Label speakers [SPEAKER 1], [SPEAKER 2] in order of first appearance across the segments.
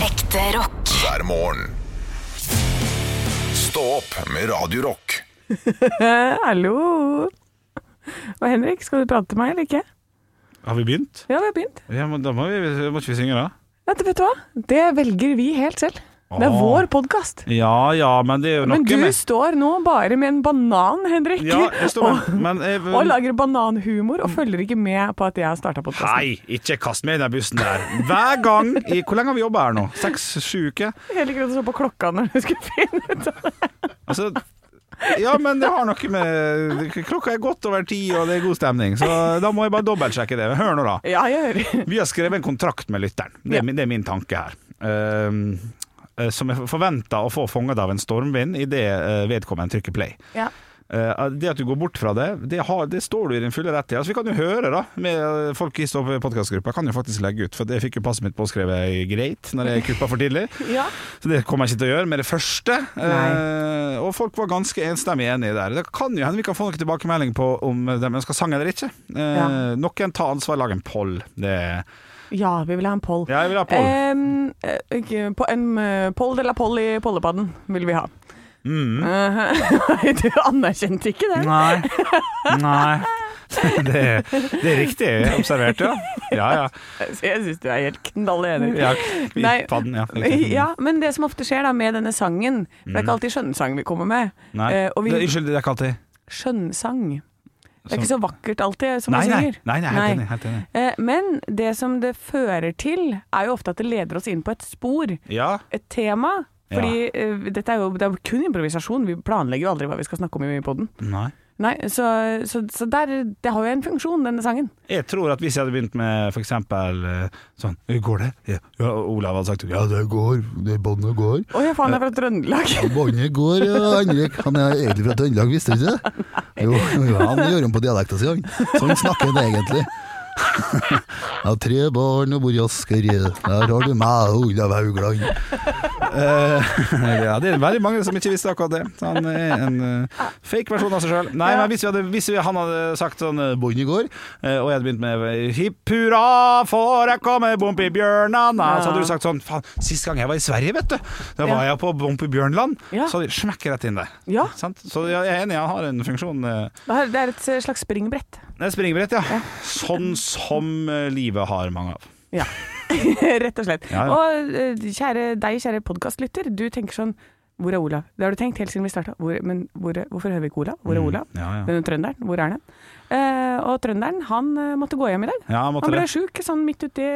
[SPEAKER 1] Ekte rock.
[SPEAKER 2] hver morgen. Stå opp med Radio Rock.
[SPEAKER 3] Eh, hallo! Og Henrik, skal du prate til meg eller ikke?
[SPEAKER 4] Har vi begynt?
[SPEAKER 3] Ja, vi har begynt.
[SPEAKER 4] Ja, men da må vi, må ikke vi synge, da.
[SPEAKER 3] Ja, det- vet du hva? Det velger vi helt selv. Det er
[SPEAKER 4] Ah.
[SPEAKER 3] vår podkast.
[SPEAKER 4] Ja ja, men det er jo noe
[SPEAKER 3] Men du
[SPEAKER 4] med
[SPEAKER 3] står nå bare med en banan, Henrik.
[SPEAKER 4] Ja, jeg står
[SPEAKER 3] og,
[SPEAKER 4] med men eh, jeg,
[SPEAKER 3] og lager bananhumor og følger ikke med på at jeg har starta podkasten.
[SPEAKER 4] Hei, ikke kast meg i den bussen der. Hver gang i Hvor lenge har vi jobba her nå? Seks-sju uker?
[SPEAKER 3] Heller ikke at du så på klokka når du skulle finne ut av det.
[SPEAKER 4] Altså Ja, men det har noe med Klokka er godt over ti, og det er god stemning, så da må jeg bare dobbeltsjekke det. Hør nå, da.
[SPEAKER 3] Ja, jeg hører.
[SPEAKER 4] Vi har skrevet en kontrakt med lytteren. Det er,
[SPEAKER 3] Ja.
[SPEAKER 4] min, det er min tanke her. Ehm, eh, som jeg forventer å få fanget av en stormvind idet uh, vedkommende trykker play.
[SPEAKER 3] Ja.
[SPEAKER 4] Eh, det at du går bort fra det, det, har, det står du i din fulle rett til. Altså, vi kan jo høre, da. Med eh, folk i podkastgruppa kan jo faktisk legge ut, for jeg fikk jo passet mitt påskrevet i greit når jeg kuppa for tidlig.
[SPEAKER 3] ja.
[SPEAKER 4] Så det kommer jeg ikke til å gjøre med det første.
[SPEAKER 3] Nei.
[SPEAKER 4] Eh, og folk var ganske enstemmig enige der. Det kan jo hende vi kan få noen tilbakemelding på om de ønsker sang eller ikke. Eh,
[SPEAKER 3] Ja.
[SPEAKER 4] Noen tar ansvar, lag en poll. Det
[SPEAKER 3] ja, vi vil ha en poll.
[SPEAKER 4] Ja, jeg vil ha poll.
[SPEAKER 3] Em, eh, ikke- på en eh, poll de la poll i pollepadden vil vi ha.
[SPEAKER 4] Mm.
[SPEAKER 3] Eh, du anerkjente ikke det.
[SPEAKER 4] Nei. Nei. Det, det er riktig observert, ja. Ja, ja.
[SPEAKER 3] Så Jeg syns du er helt knall enig.
[SPEAKER 4] ja liksom. i
[SPEAKER 3] Nei.
[SPEAKER 4] padden, ja. riktig.
[SPEAKER 3] Ja, men det som ofte skjer da med denne sangen For
[SPEAKER 4] Mm.
[SPEAKER 3] det er ikke alltid skjønnsang vi kommer med.
[SPEAKER 4] Nei.
[SPEAKER 3] Eh, og vi-
[SPEAKER 4] Det- Unnskyld, det er ikke alltid
[SPEAKER 3] Skjønnsang. Det er ikke så vakkert alltid som
[SPEAKER 4] Nei,
[SPEAKER 3] vi
[SPEAKER 4] nei.
[SPEAKER 3] synger.
[SPEAKER 4] nei, nei,
[SPEAKER 3] Nei.
[SPEAKER 4] helt enig. Helt enig.
[SPEAKER 3] Eh, Men det som det fører til, er jo ofte at det leder oss inn på et spor,
[SPEAKER 4] Ja.
[SPEAKER 3] et tema. Fordi eh, dette er jo, det er jo kun improvisasjon, vi planlegger jo aldri hva vi skal snakke om i poden.
[SPEAKER 4] Nei.
[SPEAKER 3] Nei, så, så, så der, det har jo en funksjon, denne sangen.
[SPEAKER 4] Jeg tror at hvis jeg hadde begynt med for eksempel eh, sånn Går det? Ja, ja og Olav hadde sagt ja, det går. Det båndet går.
[SPEAKER 3] Å ja, faen, det er fra Trøndelag!
[SPEAKER 5] Båndet går, ja, Henrik. Han er egentlig fra Trøndelag, visste du ikke det? Jo, jo, han gjør om på dialekta si, han. Sånn snakker han egentlig. Jeg har tre barn og bor i Asker. Der har du meg, Olav Haugland.
[SPEAKER 4] Eh, ja, det er veldig mange som ikke visste akkurat det. Han er en eh, fake versjon av seg sjøl. Nei, men hvis, vi hadde, hvis vi, han hadde sagt sånn eh, Båndet går, eh, og jeg hadde begynt med Hipp hurra, får jeg komme Bompi Bjørnana, så hadde du sagt sånn Faen, sist gang jeg var i Sverige, vet du, da var jeg på Bompi Bjørnland.
[SPEAKER 3] Ja.
[SPEAKER 4] Så hadde jeg smekket rett inn der.
[SPEAKER 3] Ja.
[SPEAKER 4] Sant? Så jeg er enig, han har en funksjon. eh,
[SPEAKER 3] Det er- det er et eh, slags springbrett.
[SPEAKER 4] Det er springbrett, ja. Sånn som eh, livet har mange av.
[SPEAKER 3] Ja, rett og slett.
[SPEAKER 4] Ja, ja.
[SPEAKER 3] Og eh, kjære, deg, kjære podkastlytter, du tenker sånn Hvor er Olav? Det har du tenkt helt siden vi starta. Hvor, men hvor, er- hvorfor hører vi ikke Olav? Hvor
[SPEAKER 4] Mm.
[SPEAKER 3] er Olav?
[SPEAKER 4] Ja, ja.
[SPEAKER 3] Denne trønderen, hvor er han? Eh, og trønderen, han eh, måtte gå hjem i dag.
[SPEAKER 4] Ja, måtte
[SPEAKER 3] han ble
[SPEAKER 4] det.
[SPEAKER 3] sjuk sånn midt uti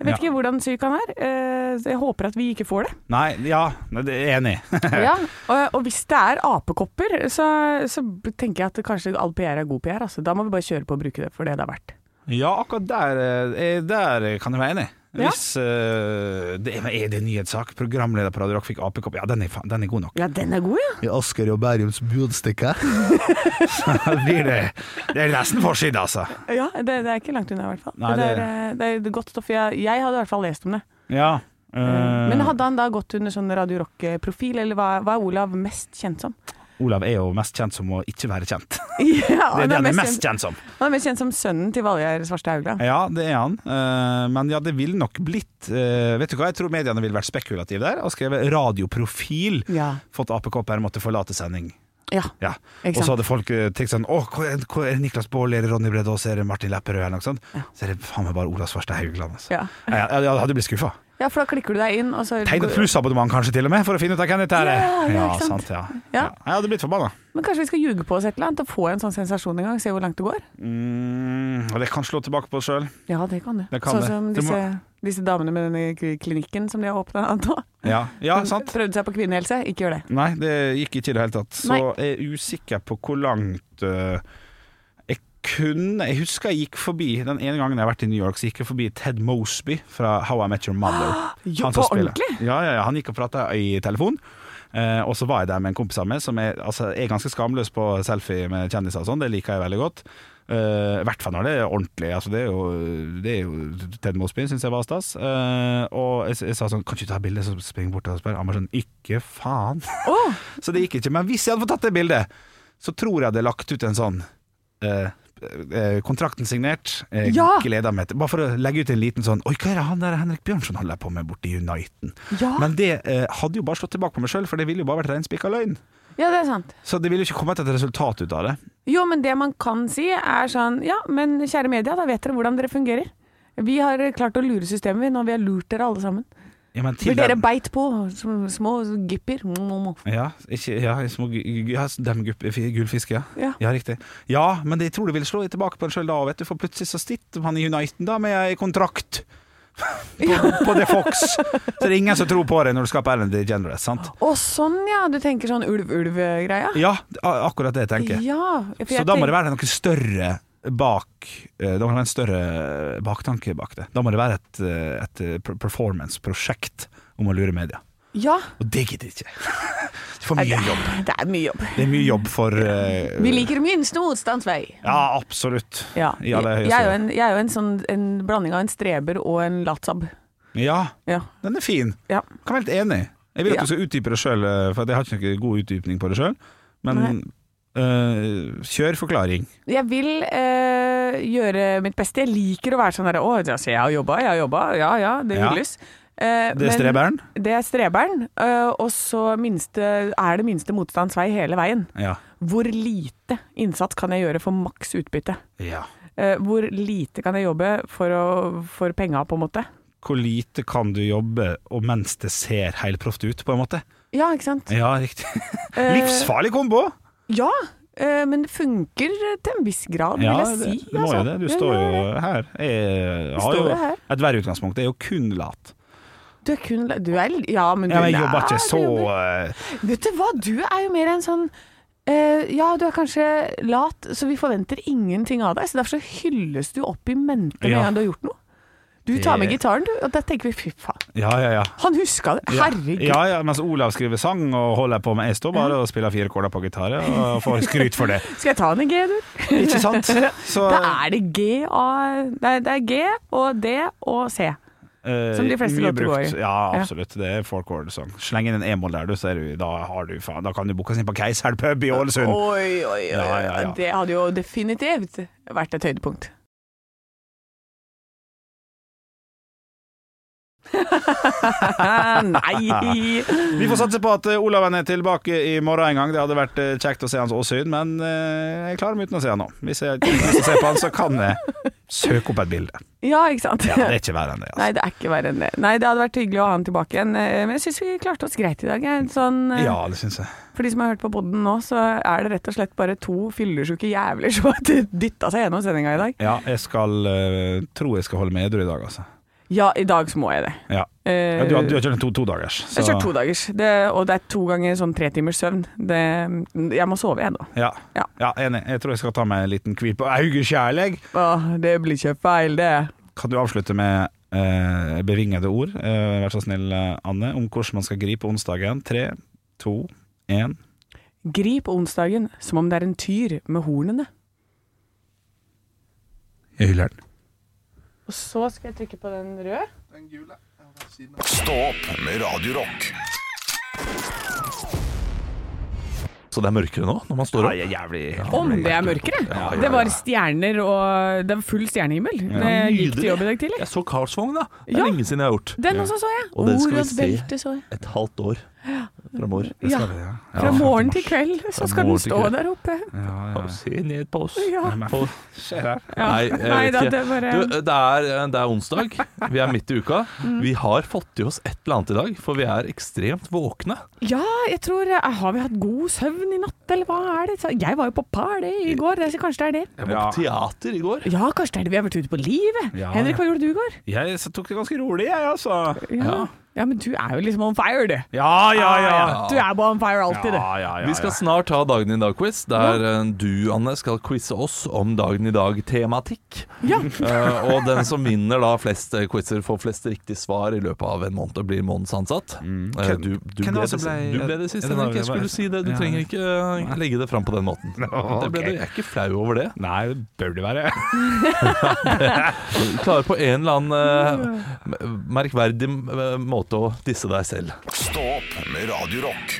[SPEAKER 3] Jeg vet
[SPEAKER 4] Ja.
[SPEAKER 3] ikke hvordan syk han er. Eh, så jeg håper at vi ikke får det.
[SPEAKER 4] Nei, ja, nei, det er jeg enig. i.
[SPEAKER 3] Ja, og, og hvis det er apekopper, så, så tenker jeg at kanskje all PR er god PR. Altså. Da må vi bare kjøre på og bruke det for det det er verdt.
[SPEAKER 4] Ja, akkurat der, eh, er- der kan jeg være enig.
[SPEAKER 3] Ja.
[SPEAKER 4] Hvis eh, det er, men er det en nyhetssak? Programleder på Radio Rock fikk apekopp. Ja, den er, faen- den er god nok.
[SPEAKER 3] Ja, den er god, ja.
[SPEAKER 5] I Asker og Bærums budstikke.
[SPEAKER 4] Da blir det, det er nesten forside, altså.
[SPEAKER 3] Ja, det, det er ikke langt unna i hvert fall.
[SPEAKER 4] Nei,
[SPEAKER 3] det,
[SPEAKER 4] det-
[SPEAKER 3] er, eh, det, er, godt stoff. Jeg, jeg hadde i hvert fall lest om det.
[SPEAKER 4] Ja. eh,
[SPEAKER 3] Men hadde han da gått under sånn Radio Rock-profil, eller hva, hva er Olav mest kjent som?
[SPEAKER 4] Olav er jo mest kjent som å ikke være kjent.
[SPEAKER 3] ja,
[SPEAKER 4] Det er det han er mest
[SPEAKER 3] kjent,
[SPEAKER 4] kjent som.
[SPEAKER 3] han er mest kjent som sønnen til Valgjerd Svarstad Haugland.
[SPEAKER 4] Ja, det er han. Eh, Men ja, det ville nok blitt eh, Vet du hva, jeg tror mediene ville vært spekulative der og skrevet 'radioprofil'.
[SPEAKER 3] Ja.
[SPEAKER 4] Fått apekopper, måtte forlate sending.
[SPEAKER 3] Ja,
[SPEAKER 4] Ja. Og
[SPEAKER 3] Ikke
[SPEAKER 4] så
[SPEAKER 3] sant?
[SPEAKER 4] hadde folk eh, tenkt sånn Å, hvor er, hvor er det Niklas Baarli, er det Ronny Brede Aase, er det Martin Lepperød, eller noe sånt? Så er det faen meg bare Olav Svarstad Haugland, altså.
[SPEAKER 3] Ja.
[SPEAKER 4] Nei, Jeg, jeg, jeg hadde blitt skuffa.
[SPEAKER 3] ja, for da klikker du deg inn, og så
[SPEAKER 4] Tegn et plussabonnement kanskje til og med, for å finne ut av hvem dette er.
[SPEAKER 3] Ja, ja, ikke sant?
[SPEAKER 4] sant, ja.
[SPEAKER 3] Ja.
[SPEAKER 4] ja. Jeg hadde blitt forbanna.
[SPEAKER 3] Men kanskje vi skal ljuge på oss et eller annet, og få en sånn sensasjon en gang, se hvor langt det går?
[SPEAKER 4] Mm, og det kan slå tilbake på oss sjøl.
[SPEAKER 3] Ja, det kan du.
[SPEAKER 4] Det
[SPEAKER 3] sånn
[SPEAKER 4] kan det.
[SPEAKER 3] som
[SPEAKER 4] Du må-
[SPEAKER 3] disse, disse damene med denne k- klinikken som de har åpna nå.
[SPEAKER 4] Ja. ja,
[SPEAKER 3] Som
[SPEAKER 4] sant.
[SPEAKER 3] Prøvde seg på kvinnehelse, ikke gjør det.
[SPEAKER 4] Nei, det gikk ikke i det hele tatt. Så
[SPEAKER 3] Nei.
[SPEAKER 4] jeg er usikker på hvor langt eh, jeg kunne Jeg husker jeg gikk forbi Den ene gangen jeg har vært i New York, så gikk jeg forbi Ted Mosby fra How I Met Your Mother.
[SPEAKER 3] Jo,
[SPEAKER 4] Han som
[SPEAKER 3] på
[SPEAKER 4] spiller.
[SPEAKER 3] ordentlig?
[SPEAKER 4] Ja, ja, ja, han gikk og prata i telefon. Eh, og så var jeg der med en kompis av meg som er, altså, er ganske skamløs på selfie med kjendiser og sånn. Det liker jeg veldig godt. Eh, I hvert fall når det er ordentlig. Altså, det, er jo, det er jo Ted Mosby, syns jeg var stas. Eh, og jeg, jeg sa sånn Kan ikke du ta bilde? Så springer jeg bort og spør. Han var sånn Ikke faen.
[SPEAKER 3] Åh!
[SPEAKER 4] Så det gikk ikke. Men hvis jeg hadde fått tatt det bildet, så tror jeg jeg hadde lagt ut en sånn eh, eh, kontrakten signert. Eh,
[SPEAKER 3] Ja!
[SPEAKER 4] Gleder meg til Bare for å legge ut en liten sånn Oi, hva er det han der Henrik Bjørnson holder på med borti Uniten?
[SPEAKER 3] Ja.
[SPEAKER 4] Men det eh, hadde jo bare slått tilbake på meg sjøl, for det ville jo bare vært reinspikka løgn.
[SPEAKER 3] Ja, det er sant.
[SPEAKER 4] Så det ville jo ikke kommet et resultat ut av det.
[SPEAKER 3] Jo, men det man kan si er sånn Ja, men kjære media, da vet dere hvordan dere fungerer. Vi har klart å lure systemet, vi, når vi har lurt dere alle sammen.
[SPEAKER 4] Ja, men
[SPEAKER 3] For
[SPEAKER 4] til
[SPEAKER 3] dere
[SPEAKER 4] den-
[SPEAKER 3] beit på som små gipper. Mm, mm, mm.
[SPEAKER 4] ja, ikke, ja, små gu- gu- ja, dem gupp- f- gullfiske, ja.
[SPEAKER 3] Ja.
[SPEAKER 4] Ja, riktig. Ja, men jeg tror du vil slå deg tilbake på en sjøl da, vet du, for plutselig så sitter han i Uniten da med ei kontrakt på, på The Fox. Så det er ingen som tror på deg når du skal på Ellen DeGeneres, sant?
[SPEAKER 3] Å, sånn ja! Du tenker sånn ulv-ulv-greia?
[SPEAKER 4] Ja, a- akkurat det jeg tenker.
[SPEAKER 3] Ja. for
[SPEAKER 4] Så
[SPEAKER 3] jeg
[SPEAKER 4] da må det
[SPEAKER 3] tenk-
[SPEAKER 4] være noe større bak eh, Da må det være en større eh, baktanke bak det. Da må det være et, eh, et eh, per- performance-prosjekt om å lure media.
[SPEAKER 3] Ja.
[SPEAKER 4] Og det gidder jeg ikke. Det er for mye jobb.
[SPEAKER 3] Det er mye jobb.
[SPEAKER 4] Det er mye jobb for eh,
[SPEAKER 3] Vi liker minst motstands vei.
[SPEAKER 4] Ja, absolutt.
[SPEAKER 3] Ja.
[SPEAKER 4] I aller høyeste
[SPEAKER 3] jeg, er jo
[SPEAKER 4] grad.
[SPEAKER 3] en, jeg er jo en sånn en blanding av en streber og en latsabb.
[SPEAKER 4] Ja,
[SPEAKER 3] Ja.
[SPEAKER 4] den er fin.
[SPEAKER 3] ja.
[SPEAKER 4] Kan være helt enig. Jeg vil at
[SPEAKER 3] Ja.
[SPEAKER 4] du skal utdype det sjøl, for jeg har ikke noen god utdypning på det sjøl. Men eh, kjør forklaring.
[SPEAKER 3] Jeg vil eh, gjøre mitt beste. Jeg liker å være sånn der Å, altså, jeg har jobba, jeg har jobba. Ja ja, det
[SPEAKER 4] Ja.
[SPEAKER 3] hylles. Eh,
[SPEAKER 4] Det er
[SPEAKER 3] men-
[SPEAKER 4] streberen?
[SPEAKER 3] Det er streberen. eh, og så minste, er det minste motstands vei hele veien.
[SPEAKER 4] Ja.
[SPEAKER 3] Hvor lite innsats kan jeg gjøre for maks utbytte?
[SPEAKER 4] ja.
[SPEAKER 3] Eh, hvor lite kan jeg jobbe for, å- for penga, på en måte?
[SPEAKER 4] Hvor lite kan du jobbe og mens det ser helproft ut, på en måte?
[SPEAKER 3] Ja, ikke sant?
[SPEAKER 4] Ja, riktig.
[SPEAKER 3] Eh,
[SPEAKER 4] Livsfarlig kombo!
[SPEAKER 3] Ja, eh, men det funker til en viss grad,
[SPEAKER 4] Ja,
[SPEAKER 3] vil jeg
[SPEAKER 4] det,
[SPEAKER 3] si.
[SPEAKER 4] det må jo
[SPEAKER 3] altså.
[SPEAKER 4] det. Du
[SPEAKER 3] Ja,
[SPEAKER 4] står
[SPEAKER 3] ja,
[SPEAKER 4] jo
[SPEAKER 3] ja.
[SPEAKER 4] her. Jeg har
[SPEAKER 3] står
[SPEAKER 4] jo
[SPEAKER 3] jo her.
[SPEAKER 4] et verre utgangspunkt. Jeg er jo kun lat.
[SPEAKER 3] Du er kun Du er Ja, men du
[SPEAKER 4] Ja, men jeg
[SPEAKER 3] er-
[SPEAKER 4] jobber ikke
[SPEAKER 3] du
[SPEAKER 4] så
[SPEAKER 3] jobber-
[SPEAKER 4] eh,
[SPEAKER 3] Vet du hva, du er jo mer en sånn eh, ja, du er kanskje lat, så vi forventer ingenting av deg. Så Derfor så hylles du opp i mente med en
[SPEAKER 4] Ja.
[SPEAKER 3] gang du har gjort noe. Du tar med
[SPEAKER 4] Det-
[SPEAKER 3] gitaren, du, og da tenker vi fy faen.
[SPEAKER 4] Ja, ja, ja.
[SPEAKER 3] Han huska det!
[SPEAKER 4] Ja.
[SPEAKER 3] Herregud.
[SPEAKER 4] Ja, ja, mens Olav skriver sang og holder på med Jeg står bare og spiller fire kåler på gitar og får skryt for det.
[SPEAKER 3] Skal jeg ta den i G, du?
[SPEAKER 4] Ikke sant? Så,
[SPEAKER 3] Da er det G og Nei, det er G og D og C.
[SPEAKER 4] eh,
[SPEAKER 3] som de fleste
[SPEAKER 4] mye
[SPEAKER 3] låter går i.
[SPEAKER 4] brukt. Ja,
[SPEAKER 3] Ja.
[SPEAKER 4] absolutt. Det er folk sang Sleng inn en e-moll der, du, så er du, da, har du, faen, da kan du booke oss inn på Keisel pub i Ålesund.
[SPEAKER 3] Oi, oi, oi.
[SPEAKER 4] Ja, ja, ja.
[SPEAKER 3] Det hadde jo definitivt vært et høydepunkt. Nei!
[SPEAKER 4] Vi får satse på at eh, Olav er tilbake i morgen en gang. Det hadde vært eh, kjekt å se hans åsyn, men eh, jeg klarer meg uten å se han nå. Hvis jeg ikke har lyst til å se på han, så kan jeg søke opp et bilde.
[SPEAKER 3] Ja, ikke sant?
[SPEAKER 4] Ja, det er ikke verre enn det. Altså.
[SPEAKER 3] Nei, det er ikke verre enn det. Nei, det hadde vært hyggelig å ha han tilbake igjen, eh, men jeg syns vi klarte oss greit i dag. jeg. Sånn, eh,
[SPEAKER 4] Ja, det syns jeg.
[SPEAKER 3] For de som har hørt på podden nå, så er det rett og slett bare to fyllesyke jævler som har dytta seg gjennom sendinga i dag.
[SPEAKER 4] Ja, jeg skal eh, tro jeg skal holde meg edru i dag, altså.
[SPEAKER 3] Ja, i dag så må jeg det.
[SPEAKER 4] Ja.
[SPEAKER 3] Eh,
[SPEAKER 4] Ja, du, har- du har kjørt en to, to dagers.
[SPEAKER 3] Jeg kjører to dagers, det, og det er to ganger sånn tre timers søvn. Det, jeg må sove, jeg, da.
[SPEAKER 4] Ja.
[SPEAKER 3] Ja.
[SPEAKER 4] ja, enig. Jeg tror jeg skal ta meg en liten hvil på Augeskjærleg.
[SPEAKER 3] Åh, det blir ikke feil, det.
[SPEAKER 4] Kan du avslutte med eh, bevingede ord, eh, vær så snill, eh, Anne, om hvordan man skal gripe onsdagen? Tre, to, én.
[SPEAKER 3] Grip onsdagen som om det er en tyr med hornene.
[SPEAKER 4] Jeg hyller den.
[SPEAKER 3] Og så skal jeg trykke på den røde.
[SPEAKER 2] Stå opp med Radio Rock.
[SPEAKER 1] Så det er mørkere nå, når man står opp?
[SPEAKER 4] Ja, jævlig
[SPEAKER 3] Om det er mørkere!
[SPEAKER 1] Ja, ja, ja.
[SPEAKER 3] Det var stjerner og Det var full stjernehimmel da jeg gikk til jobb i dag tidlig.
[SPEAKER 1] Jeg så Karlsvogn, da. Det er
[SPEAKER 3] Ja.
[SPEAKER 1] lenge siden jeg har gjort.
[SPEAKER 3] Den også så jeg.
[SPEAKER 1] Og den skal vi
[SPEAKER 3] Orons
[SPEAKER 1] se.
[SPEAKER 3] belte så jeg.
[SPEAKER 1] Et halvt år framover.
[SPEAKER 3] Ja. Fra morgen til kveld så
[SPEAKER 1] Fra
[SPEAKER 3] skal den
[SPEAKER 1] morgen til
[SPEAKER 3] stå
[SPEAKER 1] kveld.
[SPEAKER 3] der oppe.
[SPEAKER 4] Ja, ja.
[SPEAKER 1] Se ned på oss.
[SPEAKER 3] Ja.
[SPEAKER 1] På-
[SPEAKER 4] Skjer her.
[SPEAKER 3] Ja.
[SPEAKER 1] Nei, jeg
[SPEAKER 3] Nei
[SPEAKER 1] vet
[SPEAKER 3] da,
[SPEAKER 1] ikke.
[SPEAKER 3] det eh, bare
[SPEAKER 1] Du, eh, det, er, det er onsdag, vi er midt i uka. Vi har fått i oss et eller annet i dag, for vi er ekstremt våkne.
[SPEAKER 3] Ja, jeg tror eh, Har vi hatt god søvn i natt, eller hva er det? Så- Jeg var jo på party i går, det- så kanskje det er det.
[SPEAKER 1] Jeg var på teater i går.
[SPEAKER 3] Ja, kanskje det er det vi har vært ute på livet.
[SPEAKER 4] Ja.
[SPEAKER 3] Henrik, hva gjorde du i går?
[SPEAKER 4] Jeg så tok det ganske rolig, jeg, altså.
[SPEAKER 3] Ja. ja.
[SPEAKER 1] Ja.
[SPEAKER 3] men du er jo liksom on fire, du.
[SPEAKER 4] Ja, ja, ja.
[SPEAKER 3] Du er bare on fire
[SPEAKER 4] Ja,
[SPEAKER 3] alltid,
[SPEAKER 4] ja, ja, ja.
[SPEAKER 1] Vi skal snart ha Dagen i dag-quiz, der eh, du, Anne, skal quize oss om Dagen i dag-tematikk.
[SPEAKER 3] du. Ja.
[SPEAKER 1] Eh, og den som vinner da flest eh, quizer, får flest riktige svar i løpet av en måned og blir månedens ansatt. Eh,
[SPEAKER 4] Hvem-
[SPEAKER 1] du, du,
[SPEAKER 4] hvem
[SPEAKER 1] ble
[SPEAKER 4] var det som
[SPEAKER 1] det,
[SPEAKER 4] ble-
[SPEAKER 1] du ble det
[SPEAKER 4] er
[SPEAKER 1] siste,
[SPEAKER 4] det
[SPEAKER 1] Henrik. Jeg
[SPEAKER 4] Norge var-
[SPEAKER 1] skulle si det. Du
[SPEAKER 4] Ja.
[SPEAKER 1] trenger ikke eh, legge det fram på den måten. Det ble
[SPEAKER 4] ok.
[SPEAKER 1] det. Jeg er ikke flau over det.
[SPEAKER 4] Nei, det bør det være.
[SPEAKER 1] Du klarer på en eller annen eh, merkverdig eh, måte å disse deg selv.
[SPEAKER 2] Stå opp med Radio Rock.